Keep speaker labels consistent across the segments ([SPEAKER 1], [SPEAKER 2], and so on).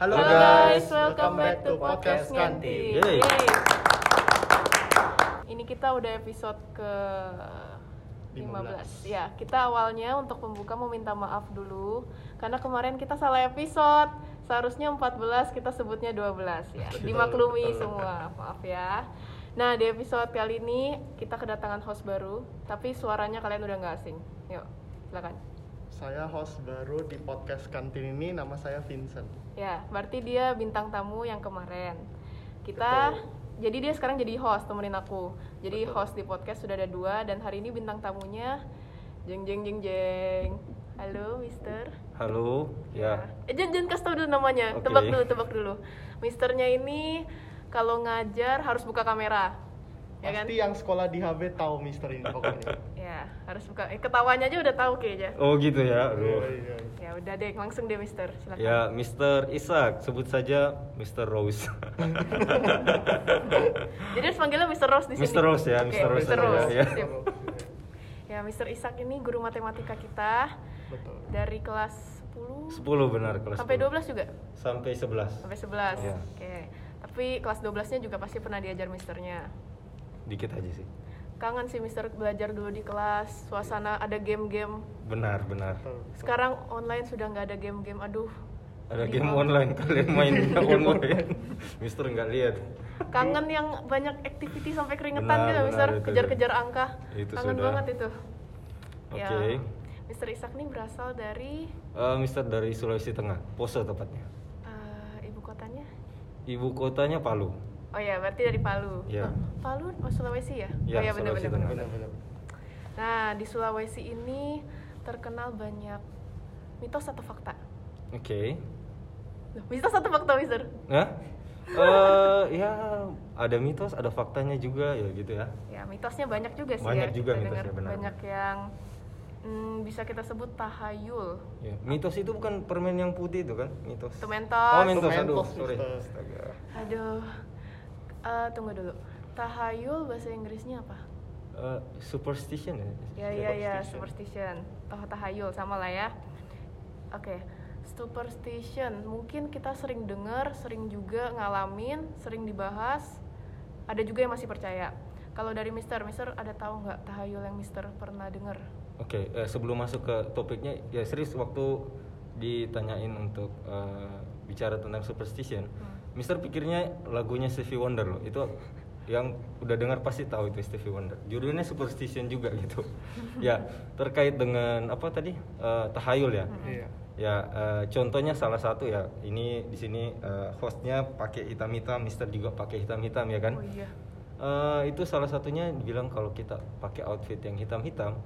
[SPEAKER 1] Halo
[SPEAKER 2] Halo
[SPEAKER 1] guys,
[SPEAKER 2] guys, welcome back to podcast
[SPEAKER 1] Kantin.
[SPEAKER 2] Kantin.
[SPEAKER 1] Yeay.
[SPEAKER 2] Yeay. Ini kita udah episode ke 15.
[SPEAKER 1] 15.
[SPEAKER 2] Ya, kita awalnya untuk pembuka mau minta maaf dulu karena kemarin kita salah episode. Seharusnya 14, kita sebutnya 12 ya. Dimaklumi semua, maaf ya. Nah, di episode kali ini kita kedatangan host baru, tapi suaranya kalian udah nggak asing. Yuk, silakan.
[SPEAKER 1] Saya host baru di podcast Kantin ini, nama saya Vincent.
[SPEAKER 2] Ya, berarti dia bintang tamu yang kemarin. Kita jadi dia sekarang jadi host temenin aku. Jadi
[SPEAKER 1] Betul.
[SPEAKER 2] host di podcast sudah ada dua dan hari ini bintang tamunya jeng jeng jeng jeng. Halo, Mister.
[SPEAKER 3] Halo, ya.
[SPEAKER 2] Eh, jangan, jangan kasih tau dulu namanya.
[SPEAKER 3] Oke.
[SPEAKER 2] Tebak dulu, tebak dulu. Misternya ini kalau ngajar harus buka kamera. Ya kan?
[SPEAKER 1] Pasti yang sekolah di HB tahu Mister ini pokoknya.
[SPEAKER 2] Ya, harus buka. Eh, ketawanya aja udah tahu kayaknya.
[SPEAKER 3] Oh gitu ya.
[SPEAKER 1] Iya,
[SPEAKER 3] Aduh.
[SPEAKER 1] iya.
[SPEAKER 2] Ya udah deh, langsung deh Mister. Silakan.
[SPEAKER 3] Ya, Mr. Isaac, sebut saja Mr. Rose.
[SPEAKER 2] Jadi harus panggilnya Mr. Rose di sini.
[SPEAKER 3] Mr. Rose ya,
[SPEAKER 2] Oke,
[SPEAKER 3] Mr. Rose
[SPEAKER 2] Mr.
[SPEAKER 3] aja
[SPEAKER 2] Rose.
[SPEAKER 3] ya.
[SPEAKER 2] Sip. Ya, Mr. Ishak ini guru matematika kita
[SPEAKER 1] Betul.
[SPEAKER 2] dari kelas
[SPEAKER 3] 10
[SPEAKER 2] 10
[SPEAKER 3] benar kelas.
[SPEAKER 2] sampai
[SPEAKER 3] 10.
[SPEAKER 2] 12 juga,
[SPEAKER 3] Sampai 11.
[SPEAKER 2] sampai 11.
[SPEAKER 3] Iya.
[SPEAKER 2] Oke. Tapi kelas 12-nya juga pasti pernah diajar misternya.
[SPEAKER 3] Dikit aja sih.
[SPEAKER 2] Kangen sih mister belajar dulu di kelas, suasana ada game-game.
[SPEAKER 3] Benar, benar.
[SPEAKER 1] Betul.
[SPEAKER 2] Sekarang online sudah nggak ada game-game. Aduh.
[SPEAKER 3] Ada
[SPEAKER 2] Sedih
[SPEAKER 3] game
[SPEAKER 2] banget.
[SPEAKER 3] online kalian main game online. Mister nggak lihat.
[SPEAKER 2] Kangen yang banyak activity sampai keringetan
[SPEAKER 3] Benar,
[SPEAKER 2] gitu,
[SPEAKER 3] benar,
[SPEAKER 2] mister
[SPEAKER 3] itu.
[SPEAKER 2] kejar-kejar angka.
[SPEAKER 3] Itu
[SPEAKER 2] Kangen
[SPEAKER 3] sudah.
[SPEAKER 2] banget itu. Ya.
[SPEAKER 3] Oke.
[SPEAKER 2] Iya. Mister Ishak nih berasal dari
[SPEAKER 3] Eh, Mister dari Sulawesi Tengah, Poso tepatnya.
[SPEAKER 2] eh, ibu kotanya.
[SPEAKER 3] Ibu kotanya Palu.
[SPEAKER 2] Oh ya, berarti dari Palu.
[SPEAKER 3] Iya.
[SPEAKER 2] Oh, Palu oh, Sulawesi ya?
[SPEAKER 3] Iya,
[SPEAKER 2] oh, ya,
[SPEAKER 3] Sulawesi
[SPEAKER 2] benar-benar.
[SPEAKER 3] Tengah.
[SPEAKER 1] Benar-benar.
[SPEAKER 2] Nah, di Sulawesi ini terkenal banyak mitos atau fakta?
[SPEAKER 3] Oke.
[SPEAKER 2] Loh, mitos atau fakta, Mister?
[SPEAKER 3] Nah, eh ya ada mitos, ada faktanya juga ya gitu ya.
[SPEAKER 2] Ya, mitosnya banyak juga sih
[SPEAKER 3] Banyak
[SPEAKER 2] ya.
[SPEAKER 3] juga
[SPEAKER 2] kita
[SPEAKER 3] mitosnya,
[SPEAKER 2] dengar.
[SPEAKER 3] benar.
[SPEAKER 2] Banyak yang mm, bisa kita sebut tahayul.
[SPEAKER 3] Ya, mitos itu bukan permen yang putih itu kan? Mitos.
[SPEAKER 2] Itu mentos.
[SPEAKER 3] Oh, mentos. Aduh,
[SPEAKER 1] Mentos,
[SPEAKER 3] sorry.
[SPEAKER 1] Mister.
[SPEAKER 3] Astaga.
[SPEAKER 2] Aduh. Eh, tunggu dulu. Tahayul bahasa Inggrisnya apa?
[SPEAKER 3] Eh, superstition ya?
[SPEAKER 2] Ya ya ya, superstition. Oh, tahayul sama lah ya. Oke. Superstition, mungkin kita sering dengar, sering juga ngalamin, sering dibahas. Ada juga yang masih percaya. Kalau dari Mister, Mister ada tahu nggak tahayul yang Mister pernah dengar?
[SPEAKER 3] Oke, eh, sebelum masuk ke topiknya, ya serius waktu ditanyain untuk eh, bicara tentang superstition,
[SPEAKER 2] Hmm.
[SPEAKER 3] Mister pikirnya lagunya Stevie Wonder loh. Itu yang udah dengar pasti tahu itu Stevie Wonder. Judulnya Superstition juga gitu. ya, terkait dengan apa tadi? Eh, tahayul ya.
[SPEAKER 2] Hmm.
[SPEAKER 1] Iya.
[SPEAKER 3] Ya, eh, contohnya salah satu ya. Ini di sini eh, hostnya pakai hitam-hitam, Mister juga pakai hitam-hitam ya kan?
[SPEAKER 2] Oh iya.
[SPEAKER 3] Eh, itu salah satunya dibilang kalau kita pakai outfit yang hitam-hitam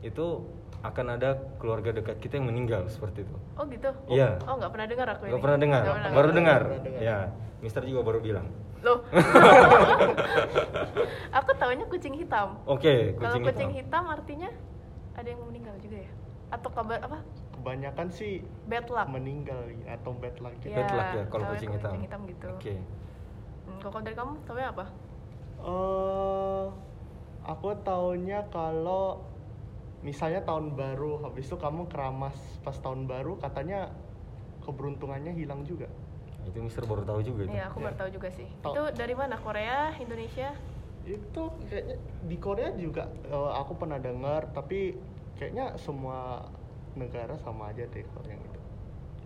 [SPEAKER 3] itu akan ada keluarga dekat kita yang meninggal seperti itu.
[SPEAKER 2] Oh gitu.
[SPEAKER 3] Iya.
[SPEAKER 2] Oh nggak pernah dengar aku ini.
[SPEAKER 3] Gak pernah dengar,
[SPEAKER 2] Nggak
[SPEAKER 3] baru
[SPEAKER 1] dengar.
[SPEAKER 3] dengar.
[SPEAKER 1] Nggak pernah dengar.
[SPEAKER 3] Ya, Mister juga baru bilang.
[SPEAKER 2] Loh. aku taunya kucing hitam.
[SPEAKER 3] Oke,
[SPEAKER 2] Kalau
[SPEAKER 3] kucing,
[SPEAKER 2] kucing
[SPEAKER 3] hitam.
[SPEAKER 2] hitam artinya ada yang meninggal juga ya? Atau kabar apa?
[SPEAKER 1] Kebanyakan sih
[SPEAKER 2] Bad luck.
[SPEAKER 1] meninggal ya, atau bad luck gitu.
[SPEAKER 2] Iya.
[SPEAKER 3] Bad luck ya kalau
[SPEAKER 2] kalau
[SPEAKER 3] kucing
[SPEAKER 2] kucing
[SPEAKER 3] hitam.
[SPEAKER 2] hitam gitu.
[SPEAKER 3] Oke.
[SPEAKER 2] Hmm, kalau dari kamu, tapi apa?
[SPEAKER 1] Eh, aku taunya kalau misalnya tahun baru habis itu kamu keramas pas tahun baru katanya keberuntungannya hilang juga.
[SPEAKER 3] Itu Mister baru tahu juga itu.
[SPEAKER 2] Iya, aku baru tahu juga sih.
[SPEAKER 1] Tau.
[SPEAKER 2] Itu dari mana? Korea, Indonesia?
[SPEAKER 1] Itu kayaknya di Korea juga eh, aku pernah dengar tapi kayaknya semua negara sama aja deh kalau yang itu.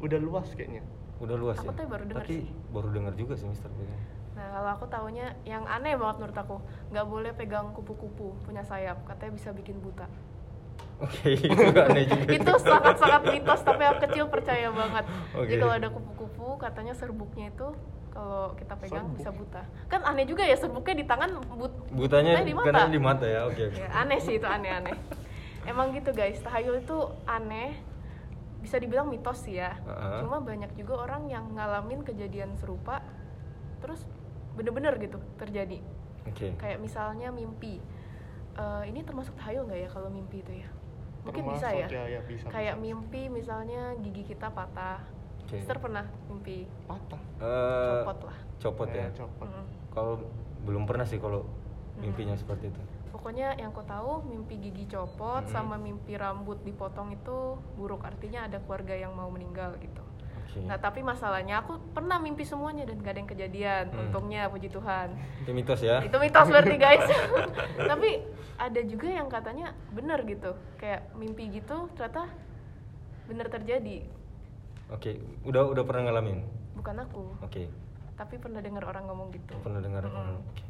[SPEAKER 1] Udah luas kayaknya.
[SPEAKER 3] Udah luas
[SPEAKER 2] Aku
[SPEAKER 3] ya.
[SPEAKER 2] tuh baru dengar
[SPEAKER 3] Tapi
[SPEAKER 2] sih.
[SPEAKER 3] baru dengar juga sih Mister.
[SPEAKER 2] Nah, kalau aku taunya yang aneh banget menurut aku, nggak boleh pegang kupu-kupu punya sayap, katanya bisa bikin buta.
[SPEAKER 3] Oke, itu nggak aneh juga.
[SPEAKER 2] itu sangat-sangat mitos, tapi aku kecil percaya banget. Jadi
[SPEAKER 3] Oke.
[SPEAKER 2] kalau ada kupu-kupu, katanya serbuknya itu kalau kita pegang
[SPEAKER 1] Serbuk.
[SPEAKER 2] bisa buta. Kan aneh juga ya serbuknya di tangan but
[SPEAKER 3] Butanya
[SPEAKER 2] di mata.
[SPEAKER 3] karena di mata ya. Oke. oke.
[SPEAKER 2] Ya, aneh sih itu aneh-aneh. Emang gitu guys, tahayul itu aneh. Bisa dibilang mitos sih ya.
[SPEAKER 3] Heeh.
[SPEAKER 2] Cuma banyak juga orang yang ngalamin kejadian serupa terus bener-bener gitu terjadi.
[SPEAKER 3] Oke.
[SPEAKER 2] Kayak misalnya mimpi. Eh, ini termasuk tahayul nggak ya kalau mimpi itu ya? Mungkin bisa
[SPEAKER 1] Termasuk
[SPEAKER 2] ya.
[SPEAKER 1] ya, bisa,
[SPEAKER 2] Kayak
[SPEAKER 1] bisa, bisa.
[SPEAKER 2] mimpi misalnya gigi kita patah.
[SPEAKER 3] Oke.
[SPEAKER 2] Mister pernah mimpi
[SPEAKER 1] patah.
[SPEAKER 3] Eh,
[SPEAKER 2] copot lah.
[SPEAKER 3] Copot
[SPEAKER 1] Eh,
[SPEAKER 3] ya.
[SPEAKER 1] copot.
[SPEAKER 2] Mm.
[SPEAKER 3] Kalau belum pernah sih kalau mimpinya seperti itu.
[SPEAKER 2] Pokoknya yang kau tahu mimpi gigi copot
[SPEAKER 3] Mm-mm.
[SPEAKER 2] sama mimpi rambut dipotong itu buruk artinya ada keluarga yang mau meninggal gitu.
[SPEAKER 3] Oke.
[SPEAKER 2] Nah tapi masalahnya aku pernah mimpi semuanya dan gak ada yang kejadian.
[SPEAKER 3] Hmm.
[SPEAKER 2] Untungnya puji Tuhan.
[SPEAKER 3] Itu mitos ya.
[SPEAKER 2] Itu mitos berarti guys. tapi ada juga yang katanya bener gitu. Kayak mimpi gitu ternyata bener terjadi.
[SPEAKER 3] Oke, udah udah pernah ngalamin.
[SPEAKER 2] Bukan aku,
[SPEAKER 3] Oke.
[SPEAKER 2] tapi pernah dengar orang ngomong gitu.
[SPEAKER 3] Pernah dengar.
[SPEAKER 2] Mm-mm.
[SPEAKER 3] Hmm, oke.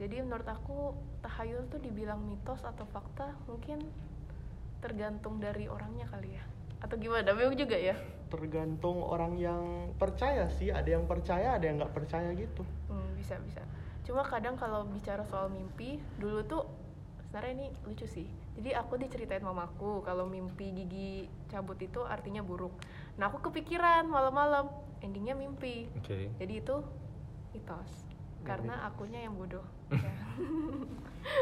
[SPEAKER 2] Jadi menurut aku tahayul tuh dibilang mitos atau fakta mungkin tergantung dari orangnya kali ya. Atau gimana? Bingung juga ya.
[SPEAKER 1] tergantung orang yang percaya sih ada yang percaya ada yang nggak percaya gitu
[SPEAKER 2] Hmm, bisa bisa. Cuma kadang kalau bicara soal mimpi, dulu tuh sebenarnya ini lucu sih. Jadi aku diceritain mamaku kalau mimpi gigi cabut itu artinya buruk. Nah aku kepikiran malam-malam, endingnya mimpi.
[SPEAKER 3] Oke.
[SPEAKER 2] Jadi itu mitos. Karena akunya yang bodoh. Ya.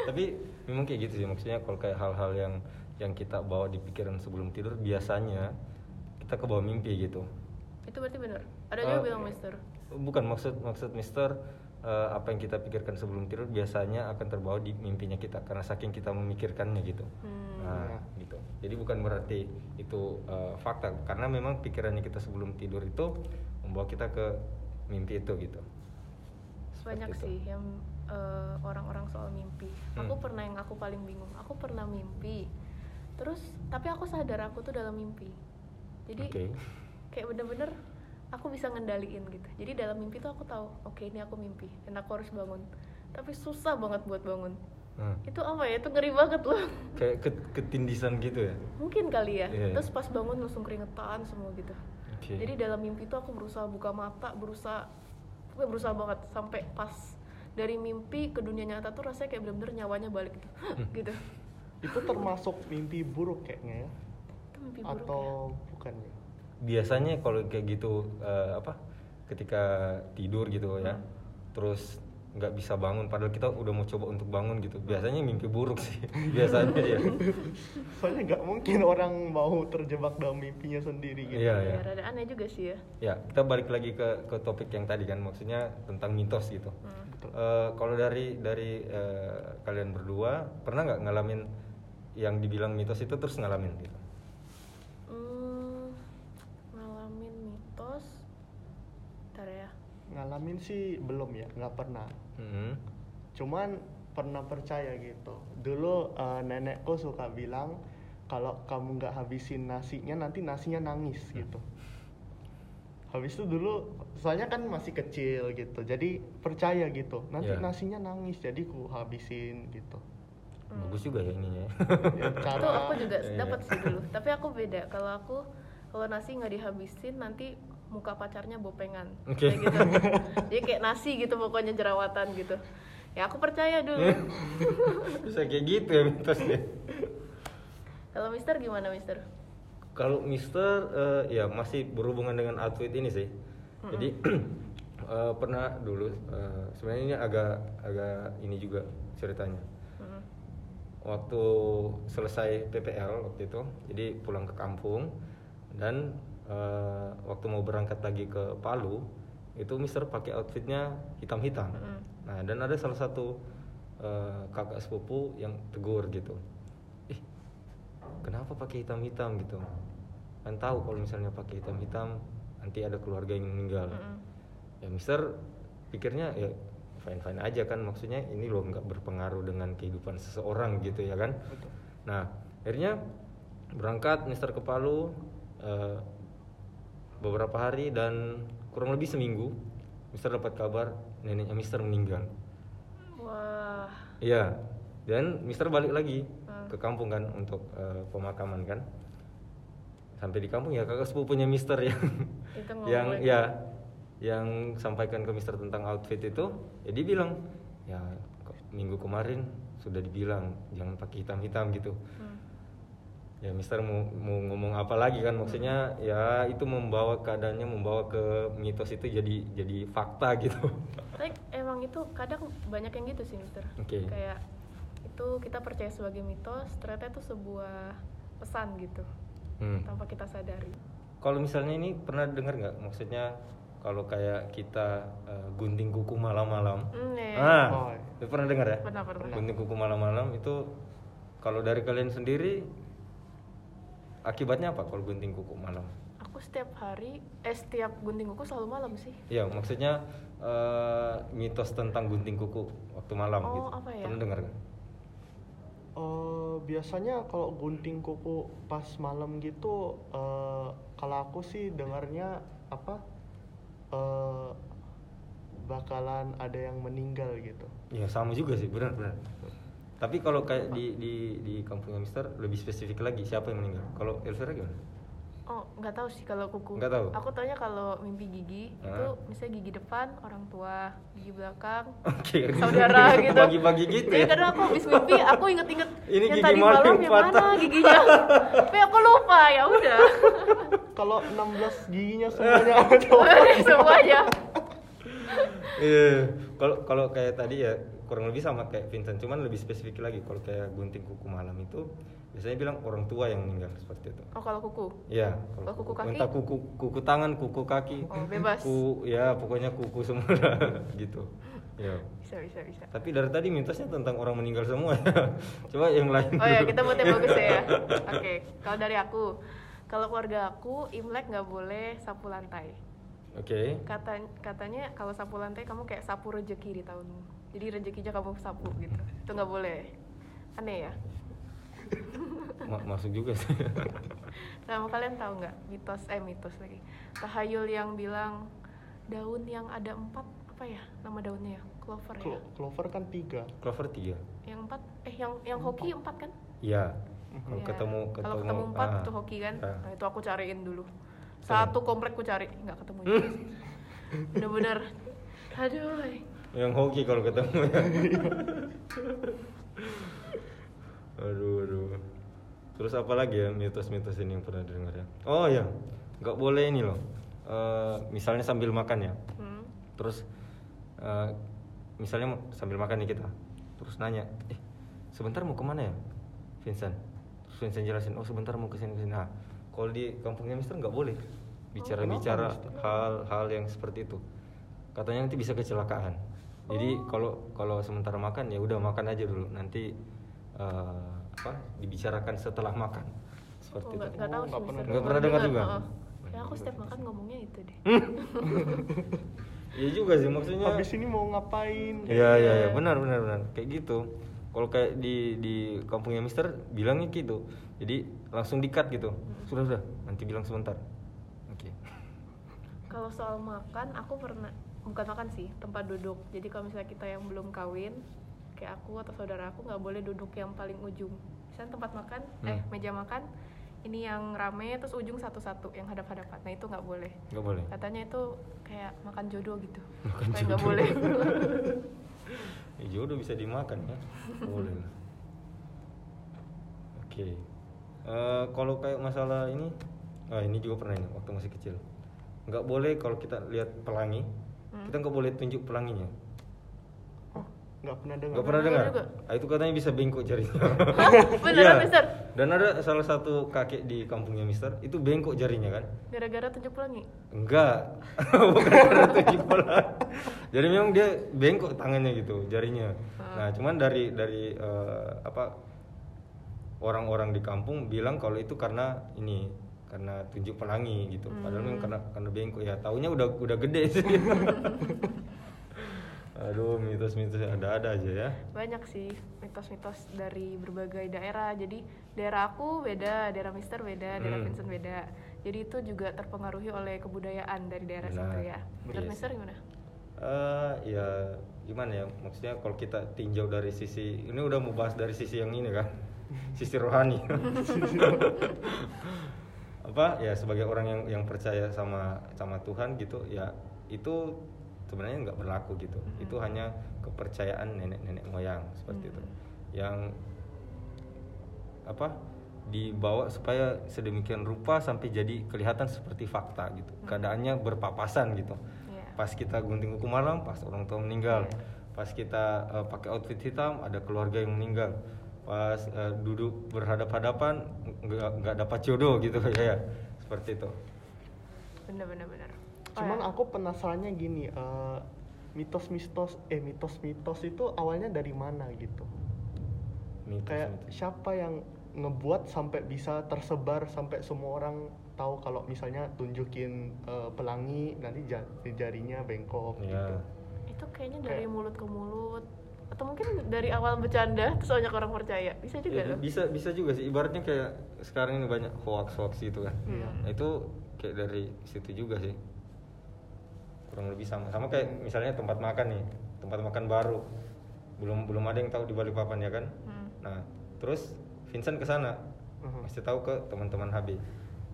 [SPEAKER 3] Tapi memang kayak gitu sih maksudnya kalau kayak hal-hal yang yang kita bawa di pikiran sebelum tidur biasanya kita ke bawah mimpi gitu.
[SPEAKER 2] itu berarti bener. Ada juga
[SPEAKER 3] Eh,
[SPEAKER 2] bilang Mister.
[SPEAKER 3] Bukan maksud maksud Mister eh, apa yang kita pikirkan sebelum tidur biasanya akan terbawa di mimpinya kita karena saking kita memikirkannya gitu.
[SPEAKER 2] Hmm.
[SPEAKER 3] Nah, gitu. Jadi bukan berarti itu eh, fakta karena memang pikirannya kita sebelum tidur itu membawa kita ke mimpi itu gitu. Seperti
[SPEAKER 2] banyak
[SPEAKER 3] itu.
[SPEAKER 2] sih yang eh, orang-orang soal mimpi aku
[SPEAKER 3] Hmm.
[SPEAKER 2] pernah yang aku paling bingung aku pernah mimpi terus tapi aku sadar aku tuh dalam mimpi jadi
[SPEAKER 3] Oke.
[SPEAKER 2] kayak bener-bener aku bisa ngendaliin gitu jadi dalam mimpi tuh aku tahu oke ini aku mimpi dan aku harus bangun tapi susah banget buat bangun
[SPEAKER 3] Nah,
[SPEAKER 2] itu apa ya itu ngeri banget loh
[SPEAKER 3] kayak ke- ketindisan gitu ya.
[SPEAKER 2] mungkin kali ya
[SPEAKER 3] Iya.
[SPEAKER 2] terus pas bangun langsung keringetan semua gitu
[SPEAKER 3] Oke.
[SPEAKER 2] jadi dalam mimpi tuh aku berusaha buka mata berusaha gue berusaha banget sampai pas dari mimpi ke dunia nyata tuh rasanya kayak bener-bener nyawanya balik gitu
[SPEAKER 3] Hmm.
[SPEAKER 2] gitu
[SPEAKER 1] itu termasuk mimpi buruk kayaknya ya
[SPEAKER 2] itu mimpi buruk ya
[SPEAKER 1] atau bukan ya
[SPEAKER 3] biasanya kalau kayak gitu eh, apa ketika tidur gitu
[SPEAKER 2] Hmm.
[SPEAKER 3] ya terus nggak bisa bangun padahal kita udah mau coba untuk bangun gitu
[SPEAKER 2] Hmm.
[SPEAKER 3] biasanya mimpi buruk sih biasanya ya
[SPEAKER 1] soalnya nggak mungkin orang mau terjebak dalam mimpinya sendiri gitu
[SPEAKER 3] iya
[SPEAKER 2] ya
[SPEAKER 3] ya
[SPEAKER 2] rada aneh juga sih ya
[SPEAKER 3] ya kita balik lagi ke ke topik yang tadi kan maksudnya tentang mitos gitu
[SPEAKER 2] Hmm.
[SPEAKER 1] Betul.
[SPEAKER 3] Eh, kalau dari dari eh, kalian berdua pernah nggak ngalamin yang dibilang mitos itu terus ngalamin gitu
[SPEAKER 2] Hmm, ngalamin mitos ntar ya
[SPEAKER 1] ngalamin sih belum ya nggak pernah
[SPEAKER 3] Mhm.
[SPEAKER 2] Hmm.
[SPEAKER 1] cuman pernah percaya gitu dulu eh, nenekku suka bilang kalau kamu nggak habisin nasinya nanti nasinya nangis
[SPEAKER 3] Iya.
[SPEAKER 1] gitu habis itu dulu soalnya kan masih kecil gitu jadi percaya gitu nanti
[SPEAKER 3] Iya.
[SPEAKER 1] nasinya nangis jadi ku habisin gitu
[SPEAKER 3] bagus juga ya ininya
[SPEAKER 1] Ya,
[SPEAKER 2] itu aku juga
[SPEAKER 3] Iya.
[SPEAKER 2] dapat sih dulu tapi aku beda kalau aku kalau nasi nggak dihabisin nanti muka pacarnya bopengan
[SPEAKER 3] Oke.
[SPEAKER 2] kayak gitu jadi kayak nasi gitu pokoknya jerawatan gitu ya aku percaya dulu
[SPEAKER 3] bisa kayak gitu ya mitosnya
[SPEAKER 2] kalau Mister gimana Mister
[SPEAKER 3] Kalau Mister eh, ya masih berhubungan dengan atlet ini sih. Jadi eh, pernah dulu eh, sebenarnya ini agak agak ini juga ceritanya.
[SPEAKER 2] Mm.
[SPEAKER 3] Waktu selesai PPL waktu itu, jadi pulang ke kampung dan eh, waktu mau berangkat lagi ke Palu itu Mister pakai outfitnya hitam-hitam.
[SPEAKER 2] Mm.
[SPEAKER 3] Nah dan ada salah satu eh, kakak sepupu yang tegur gitu. Ih, kenapa pakai hitam-hitam gitu kan tahu kalau misalnya pakai hitam-hitam nanti ada keluarga yang meninggal
[SPEAKER 2] Mm-mm.
[SPEAKER 3] ya mister pikirnya ya fine fine aja kan maksudnya ini loh nggak berpengaruh dengan kehidupan seseorang gitu ya kan
[SPEAKER 1] Betul.
[SPEAKER 3] nah akhirnya berangkat mister ke Palu eh, beberapa hari dan kurang lebih seminggu mister dapat kabar neneknya mister meninggal
[SPEAKER 2] wah
[SPEAKER 3] Iya. Dan Mister balik lagi
[SPEAKER 2] Hmm.
[SPEAKER 3] ke kampung kan untuk eh, pemakaman kan. Sampai di kampung ya kakak sepupunya Mister yang
[SPEAKER 2] Itu ngomong
[SPEAKER 3] yang
[SPEAKER 2] lagi.
[SPEAKER 3] ya yang sampaikan ke Mister tentang outfit itu, ya dia bilang ya ke- minggu kemarin sudah dibilang jangan pakai hitam-hitam gitu.
[SPEAKER 2] Hmm.
[SPEAKER 3] Ya Mister mau, mau ngomong apa lagi kan maksudnya ya itu membawa keadaannya membawa ke mitos itu jadi jadi fakta gitu.
[SPEAKER 2] tapi emang itu kadang banyak yang gitu sih Mister
[SPEAKER 3] Oke.
[SPEAKER 2] kayak itu kita percaya sebagai mitos ternyata itu sebuah pesan gitu
[SPEAKER 3] Hmm.
[SPEAKER 2] tanpa kita sadari
[SPEAKER 3] Kalau misalnya ini pernah dengar nggak? Maksudnya kalau kayak kita eh, gunting kuku malam-malam.
[SPEAKER 2] Hmm, ya, ya.
[SPEAKER 3] Ah,
[SPEAKER 1] Oh.
[SPEAKER 3] lu pernah dengar ya?
[SPEAKER 2] Pernah, pernah.
[SPEAKER 3] Gunting kuku malam-malam itu kalau dari kalian sendiri akibatnya apa kalau gunting kuku malam?
[SPEAKER 2] aku aku setiap hari eh setiap gunting kuku selalu malam sih
[SPEAKER 3] Ya, maksudnya eh, mitos tentang gunting kuku waktu malam
[SPEAKER 2] Oh,
[SPEAKER 3] gitu.
[SPEAKER 2] apa ya?
[SPEAKER 3] Pernah dengar kan?
[SPEAKER 1] Eh, biasanya kalau gunting kuku pas malam gitu eh, kalau aku sih dengarnya apa eh, bakalan ada yang meninggal gitu
[SPEAKER 3] Ya, sama juga sih, benar-benar. Tapi kalau kayak di di di kampungnya Mister lebih spesifik lagi siapa yang meninggal? Kalau Elvira gimana?
[SPEAKER 2] oh nggak tahu sih kalau kuku
[SPEAKER 3] Nggak tahu.
[SPEAKER 2] aku taunya kalau mimpi gigi itu
[SPEAKER 3] Ah.
[SPEAKER 2] misalnya gigi depan orang tua gigi belakang
[SPEAKER 3] Oke.
[SPEAKER 2] saudara gitu
[SPEAKER 3] Bagi-bagi gitu ya.
[SPEAKER 2] jadi kadang aku habis mimpi aku inget-inget
[SPEAKER 3] Ini
[SPEAKER 2] yang
[SPEAKER 3] gigi
[SPEAKER 2] tadi
[SPEAKER 3] Mario
[SPEAKER 2] malam yang
[SPEAKER 3] patah.
[SPEAKER 2] mana giginya tapi aku lupa ya udah
[SPEAKER 1] kalau 16 giginya semuanya
[SPEAKER 2] semuanya
[SPEAKER 3] Iya. Kalau kalau kayak tadi ya kurang lebih sama kayak Vincent, cuman lebih spesifik lagi. Kalau kayak gunting kuku malam itu biasanya bilang orang tua yang meninggal seperti itu.
[SPEAKER 2] oh kalau kuku
[SPEAKER 3] Iya,
[SPEAKER 2] Kalau Oh, kuku kaki?
[SPEAKER 3] Entah kuku kuku tangan, kuku kaki.
[SPEAKER 2] Oh, bebas.
[SPEAKER 3] Kuku, ya pokoknya kuku semua lah, gitu. Ya.
[SPEAKER 2] bisa bisa bisa
[SPEAKER 3] Tapi dari tadi mitosnya tentang orang meninggal semua. Coba yang lain.
[SPEAKER 2] Oh ya
[SPEAKER 3] dulu.
[SPEAKER 2] kita buat yang bagus ya. Oke, kalau dari aku, kalau keluarga aku Imlek nggak boleh sapu lantai.
[SPEAKER 3] Oke.
[SPEAKER 2] Kata katanya kalau sapu lantai kamu kayak sapu rejeki di tahunmu. Jadi rezekinya kamu sapu gitu. Itu nggak boleh. Aneh ya.
[SPEAKER 3] Ma- masuk juga sih.
[SPEAKER 2] Nah, mau kalian tahu nggak mitos eh mitos lagi. Tahayul yang bilang daun yang ada empat apa ya nama daunnya ya? Clover ya.
[SPEAKER 1] Clo- clover kan tiga
[SPEAKER 3] Clover 3.
[SPEAKER 2] Yang empat eh yang yang hoki empat kan?
[SPEAKER 3] Iya. Kalau
[SPEAKER 2] Iya.
[SPEAKER 3] ketemu ketemu
[SPEAKER 2] kalau ketemu empat
[SPEAKER 3] ah.
[SPEAKER 2] itu hoki kan
[SPEAKER 3] Ah.
[SPEAKER 2] nah itu aku cariin dulu
[SPEAKER 3] Ketemu.
[SPEAKER 2] satu komplek ku cari nggak ketemu juga sih. bener-bener aduh eh.
[SPEAKER 3] Yang hoki kalau ketemu ya. aduh, aduh. Terus apa lagi ya mitos-mitos ini yang pernah dengar ya? Oh ya, nggak boleh ini loh. Eh, misalnya sambil makan ya.
[SPEAKER 2] hmm.
[SPEAKER 3] Terus eh, misalnya mau- sambil makan nih kita. Terus nanya, eh sebentar mau kemana ya, Vincent? Terus Vincent jelasin, oh sebentar mau kesini kesini. Nah, kalau di kampungnya Mister nggak boleh bicara-bicara
[SPEAKER 1] kenapa,
[SPEAKER 3] hal-hal yang seperti itu. Katanya nanti bisa kecelakaan. Jadi kalau kalau sementara makan ya udah makan aja dulu. Nanti eh, apa dibicarakan setelah makan
[SPEAKER 2] oh,
[SPEAKER 3] seperti
[SPEAKER 2] nggak
[SPEAKER 3] itu.
[SPEAKER 2] nggak tahu
[SPEAKER 1] Oh,
[SPEAKER 2] sih
[SPEAKER 1] nggak pernah
[SPEAKER 2] Mister.
[SPEAKER 3] dengar. Nggak pernah dengar juga?
[SPEAKER 2] Heeh. ya aku setiap makan ngomongnya itu deh
[SPEAKER 3] Iya juga sih maksudnya.
[SPEAKER 1] habis ini mau ngapain
[SPEAKER 3] Iya iya ya, benar benar benar kayak gitu. Kalau kayak di di kampungnya Mister bilangnya gitu. Jadi langsung dikat gitu. Sudah sudah nanti bilang sebentar. Oke.
[SPEAKER 2] kalau soal makan aku pernah bukan makan sih tempat duduk jadi kalau misalnya kita yang belum kawin kayak aku atau saudara aku nggak boleh duduk yang paling ujung misalnya tempat makan eh
[SPEAKER 3] Hmm.
[SPEAKER 2] meja makan ini yang rame terus ujung satu-satu yang hadap-hadapan nah itu nggak boleh
[SPEAKER 3] nggak boleh.
[SPEAKER 2] katanya itu kayak makan jodoh gitu
[SPEAKER 3] Makan
[SPEAKER 2] Kayak nggak
[SPEAKER 3] jodoh.
[SPEAKER 2] boleh
[SPEAKER 3] Ya, jodoh bisa dimakan ya. Boleh. lah. Oke. Eh, kalau kayak masalah ini, ah ini juga pernah ini waktu masih kecil. Nggak boleh kalau kita lihat pelangi, kita nggak boleh tunjuk pelanginya.
[SPEAKER 1] nggak pernah dengar
[SPEAKER 3] Gak pernah dengar?
[SPEAKER 2] dengar juga.
[SPEAKER 3] Ah, itu katanya bisa bengkok jarinya.
[SPEAKER 2] Beneran,
[SPEAKER 3] Iya.
[SPEAKER 2] Mister?
[SPEAKER 3] Dan ada salah satu kakek di kampungnya Mister, itu bengkok jarinya kan?
[SPEAKER 2] gara-gara tunjuk pelangi
[SPEAKER 3] Enggak. Bukan karena tunjuk bola. Jadi memang dia bengkok tangannya gitu, jarinya.
[SPEAKER 2] Ah.
[SPEAKER 3] Nah, cuman dari dari eh, apa orang-orang di kampung bilang kalau itu karena ini karena tunjuk pelangi gitu. Padahal
[SPEAKER 2] Hmm.
[SPEAKER 3] memang karena karena bengkok ya. Taunya udah udah gede sih. Aduh, mitos-mitos ada-ada aja ya.
[SPEAKER 2] banyak sih mitos-mitos dari berbagai daerah jadi daerah aku beda daerah Mister beda daerah
[SPEAKER 3] Hmm.
[SPEAKER 2] Vincent beda jadi itu juga terpengaruhi oleh kebudayaan dari daerah
[SPEAKER 3] Benar.
[SPEAKER 2] situ ya menurut
[SPEAKER 3] Yes.
[SPEAKER 2] Mister gimana
[SPEAKER 3] eh ya gimana ya maksudnya kalau kita tinjau dari sisi ini udah mau bahas dari sisi yang ini kan sisi rohani apa ya sebagai orang yang yang percaya sama sama Tuhan gitu ya itu sebenarnya nggak berlaku gitu itu hanya kepercayaan nenek nenek moyang seperti itu yang apa dibawa supaya sedemikian rupa sampai jadi kelihatan seperti fakta gitu keadaannya berpapasan gitu
[SPEAKER 2] Iya.
[SPEAKER 3] pas kita gunting kuku malam pas orang tua meninggal
[SPEAKER 2] Iya.
[SPEAKER 3] pas kita eh, pakai outfit hitam ada keluarga yang meninggal pas eh, duduk berhadapan-hadapan nggak nggak dapat jodoh gitu ya, ya. seperti itu
[SPEAKER 2] bener bener bener Oh,
[SPEAKER 1] Cuman
[SPEAKER 2] ya.
[SPEAKER 1] aku penasarannya gini, eh, mitos-mitos eh mitos-mitos itu awalnya dari mana gitu?
[SPEAKER 3] mitos,
[SPEAKER 1] Kayak
[SPEAKER 3] mitos.
[SPEAKER 1] siapa yang ngebuat sampai bisa tersebar sampai semua orang tahu kalau misalnya tunjukin eh, pelangi nanti ja- jarinya bengkok gitu.
[SPEAKER 3] ya
[SPEAKER 2] Itu kayaknya dari
[SPEAKER 1] Kayak-
[SPEAKER 2] mulut ke mulut atau mungkin dari awal bercanda terus banyak orang percaya. Bisa juga
[SPEAKER 3] Ya,
[SPEAKER 2] loh.
[SPEAKER 3] bisa bisa juga sih ibaratnya kayak sekarang ini banyak hoax hoax gitu kan
[SPEAKER 1] Iya.
[SPEAKER 3] Nah, itu kayak dari situ juga sih kurang lebih sama sama kayak misalnya tempat makan nih tempat makan baru belum belum ada yang tahu di Balikpapan ya kan
[SPEAKER 2] Hmm.
[SPEAKER 3] nah terus Vincent ke sana
[SPEAKER 1] Mhm.
[SPEAKER 3] masih tahu ke teman-teman HB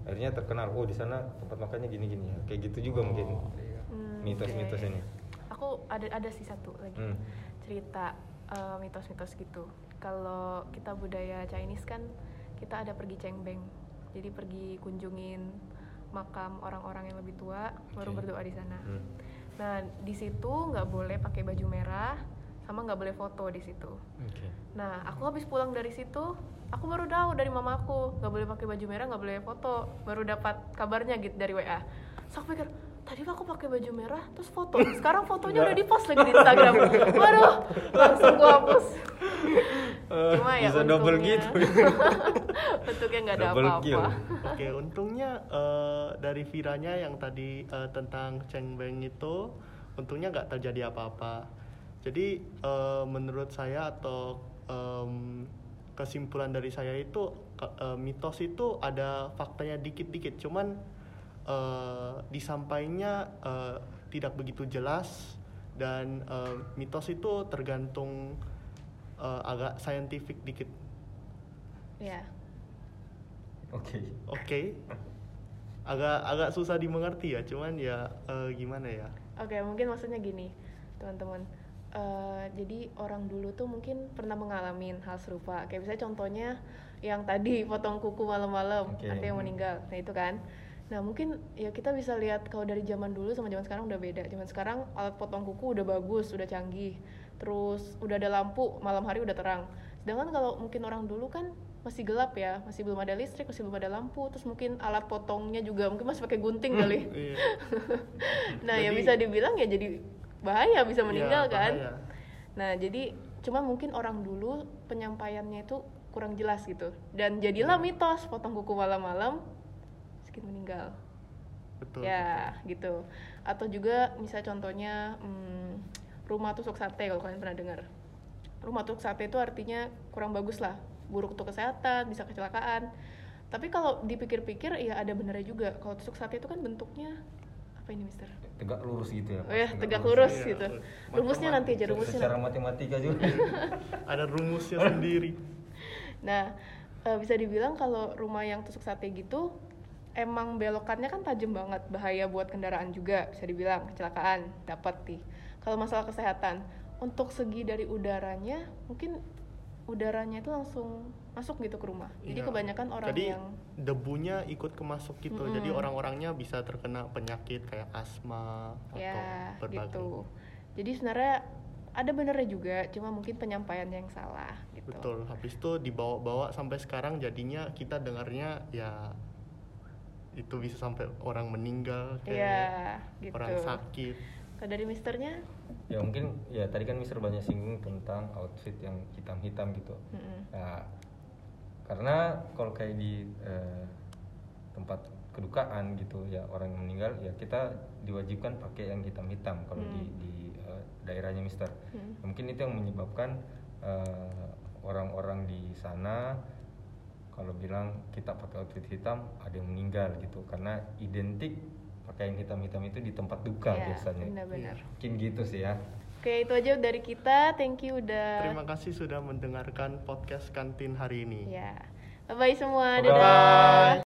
[SPEAKER 3] akhirnya terkenal oh di sana tempat makannya gini-gini ya kayak gitu juga mungkin
[SPEAKER 2] Hmm,
[SPEAKER 3] mitos-mitos
[SPEAKER 2] Oh. oke.
[SPEAKER 3] ini
[SPEAKER 2] Aku ada ada sih satu lagi
[SPEAKER 3] Hmm.
[SPEAKER 2] cerita eh, mitos-mitos gitu. Kalau kita budaya Chinese kan kita ada pergi cengbeng. Jadi pergi kunjungin makam orang-orang yang lebih tua baru
[SPEAKER 3] Oke.
[SPEAKER 2] berdoa di sana.
[SPEAKER 3] Hmm.
[SPEAKER 2] Nah di situ nggak boleh pakai baju merah sama nggak boleh foto di situ.
[SPEAKER 3] Oke.
[SPEAKER 2] Nah aku habis pulang dari situ aku baru tahu dari mamaku nggak boleh pakai baju merah nggak boleh foto baru dapat kabarnya gitu dari WA. So aku pikir tadi aku pakai baju merah terus foto sekarang fotonya udah di post lagi di Instagram. Waduh langsung gua hapus.
[SPEAKER 3] Eh, bisa double gitu ya.
[SPEAKER 2] bentuknya nggak ada
[SPEAKER 3] Double kill.
[SPEAKER 2] apa-apa.
[SPEAKER 1] Oke, untungnya eh, dari viranya yang tadi eh, tentang Cheng Beng itu, untungnya nggak terjadi apa-apa. Jadi eh, menurut saya atau em, kesimpulan dari saya itu ke- eh, mitos itu ada faktanya dikit-dikit, cuman eh, disampainya eh, tidak begitu jelas dan eh, mitos itu tergantung eh, agak scientific dikit.
[SPEAKER 2] Ya.
[SPEAKER 3] Oke.
[SPEAKER 1] Oke. Agak agak susah dimengerti ya, cuman ya eh, gimana ya?
[SPEAKER 2] Oke, mungkin maksudnya gini, teman-teman. Eh, jadi orang dulu tuh mungkin pernah mengalami hal serupa. Kayak misalnya contohnya yang tadi potong kuku malam-malam,
[SPEAKER 3] Oke.
[SPEAKER 2] ada yang meninggal. Nah itu kan. Nah mungkin ya kita bisa lihat kalau dari zaman dulu sama zaman sekarang udah beda. Zaman sekarang alat potong kuku udah bagus, udah canggih. Terus udah ada lampu, malam hari udah terang. Sedangkan kalau mungkin orang dulu kan masih gelap ya, masih belum ada listrik, masih belum ada lampu. Terus mungkin alat potongnya juga mungkin masih pakai gunting kali.
[SPEAKER 1] Iya.
[SPEAKER 2] Nah, ya
[SPEAKER 1] Jadi-
[SPEAKER 2] bisa dibilang ya jadi bahaya bisa meninggal
[SPEAKER 1] Iya,
[SPEAKER 2] kan.
[SPEAKER 1] bahaya.
[SPEAKER 2] Nah, jadi cuma mungkin orang dulu penyampaiannya itu kurang jelas gitu. Dan
[SPEAKER 1] Iya.
[SPEAKER 2] jadilah mitos potong kuku malam-malam sedikit meninggal.
[SPEAKER 1] Betul.
[SPEAKER 2] ya, gitu. Atau juga misal contohnya hmm, rumah tusuk sate kalau kalian pernah dengar. Rumah tusuk sate itu artinya kurang bagus lah, buruk untuk kesehatan, bisa kecelakaan. Tapi kalau dipikir-pikir ya ada benernya juga. Kalau tusuk sate itu kan bentuknya apa ini, Mister?
[SPEAKER 3] Tegak lurus gitu ya. Pak?
[SPEAKER 2] Oh ya, tegak lurus ya.
[SPEAKER 1] Iya,
[SPEAKER 2] gitu.
[SPEAKER 1] lurus.
[SPEAKER 2] Rumusnya nanti aja rumusnya.
[SPEAKER 3] Secara
[SPEAKER 2] nanti.
[SPEAKER 3] matematika juga.
[SPEAKER 1] Ada rumusnya sendiri.
[SPEAKER 2] Nah, eh, bisa dibilang kalau rumah yang tusuk sate gitu emang belokannya kan tajam banget, bahaya buat kendaraan juga bisa dibilang kecelakaan dapat nih. Kalau masalah kesehatan, untuk segi dari udaranya mungkin udaranya itu langsung masuk gitu ke rumah.
[SPEAKER 1] Iya.
[SPEAKER 2] Jadi kebanyakan orang
[SPEAKER 1] Jadi,
[SPEAKER 2] yang
[SPEAKER 1] debunya ikut kemasuk gitu. Jadi
[SPEAKER 2] Mm-mm.
[SPEAKER 1] orang-orangnya bisa terkena penyakit kayak asma atau
[SPEAKER 2] ya
[SPEAKER 1] berbagai.
[SPEAKER 2] gitu. Jadi sebenarnya ada benernya juga, cuma mungkin penyampaiannya yang salah gitu.
[SPEAKER 1] Betul. Habis itu dibawa-bawa sampai sekarang jadinya kita dengarnya ya itu bisa sampai orang meninggal kayak
[SPEAKER 2] Iya, gitu.
[SPEAKER 1] orang sakit.
[SPEAKER 2] Kalau dari misternya?
[SPEAKER 3] ya mungkin ya tadi kan Mister banyak singgung tentang outfit yang hitam-hitam gitu.
[SPEAKER 2] Mm-mm.
[SPEAKER 3] Nah, karena kalau kayak di eh, tempat kedukaan gitu ya orang yang meninggal ya kita diwajibkan pakai yang hitam-hitam kalau di,
[SPEAKER 2] Hmm.
[SPEAKER 3] di eh, daerahnya Mister. Ya,
[SPEAKER 2] Hmm.
[SPEAKER 3] Mungkin itu yang menyebabkan eh, orang-orang di sana kalau bilang kita pakai outfit hitam ada yang meninggal gitu karena identik pakaian hitam-hitam itu di tempat duka
[SPEAKER 2] Ya,
[SPEAKER 3] biasanya.
[SPEAKER 2] Benar-benar.
[SPEAKER 3] Mungkin gitu sih ya.
[SPEAKER 2] Oke, itu aja dari kita. Thank you udah.
[SPEAKER 1] Terima kasih
[SPEAKER 2] Iya.
[SPEAKER 1] sudah mendengarkan podcast kantin hari ini.
[SPEAKER 2] Ya. Bye bye semua.
[SPEAKER 3] Bye-bye.
[SPEAKER 2] Dadah.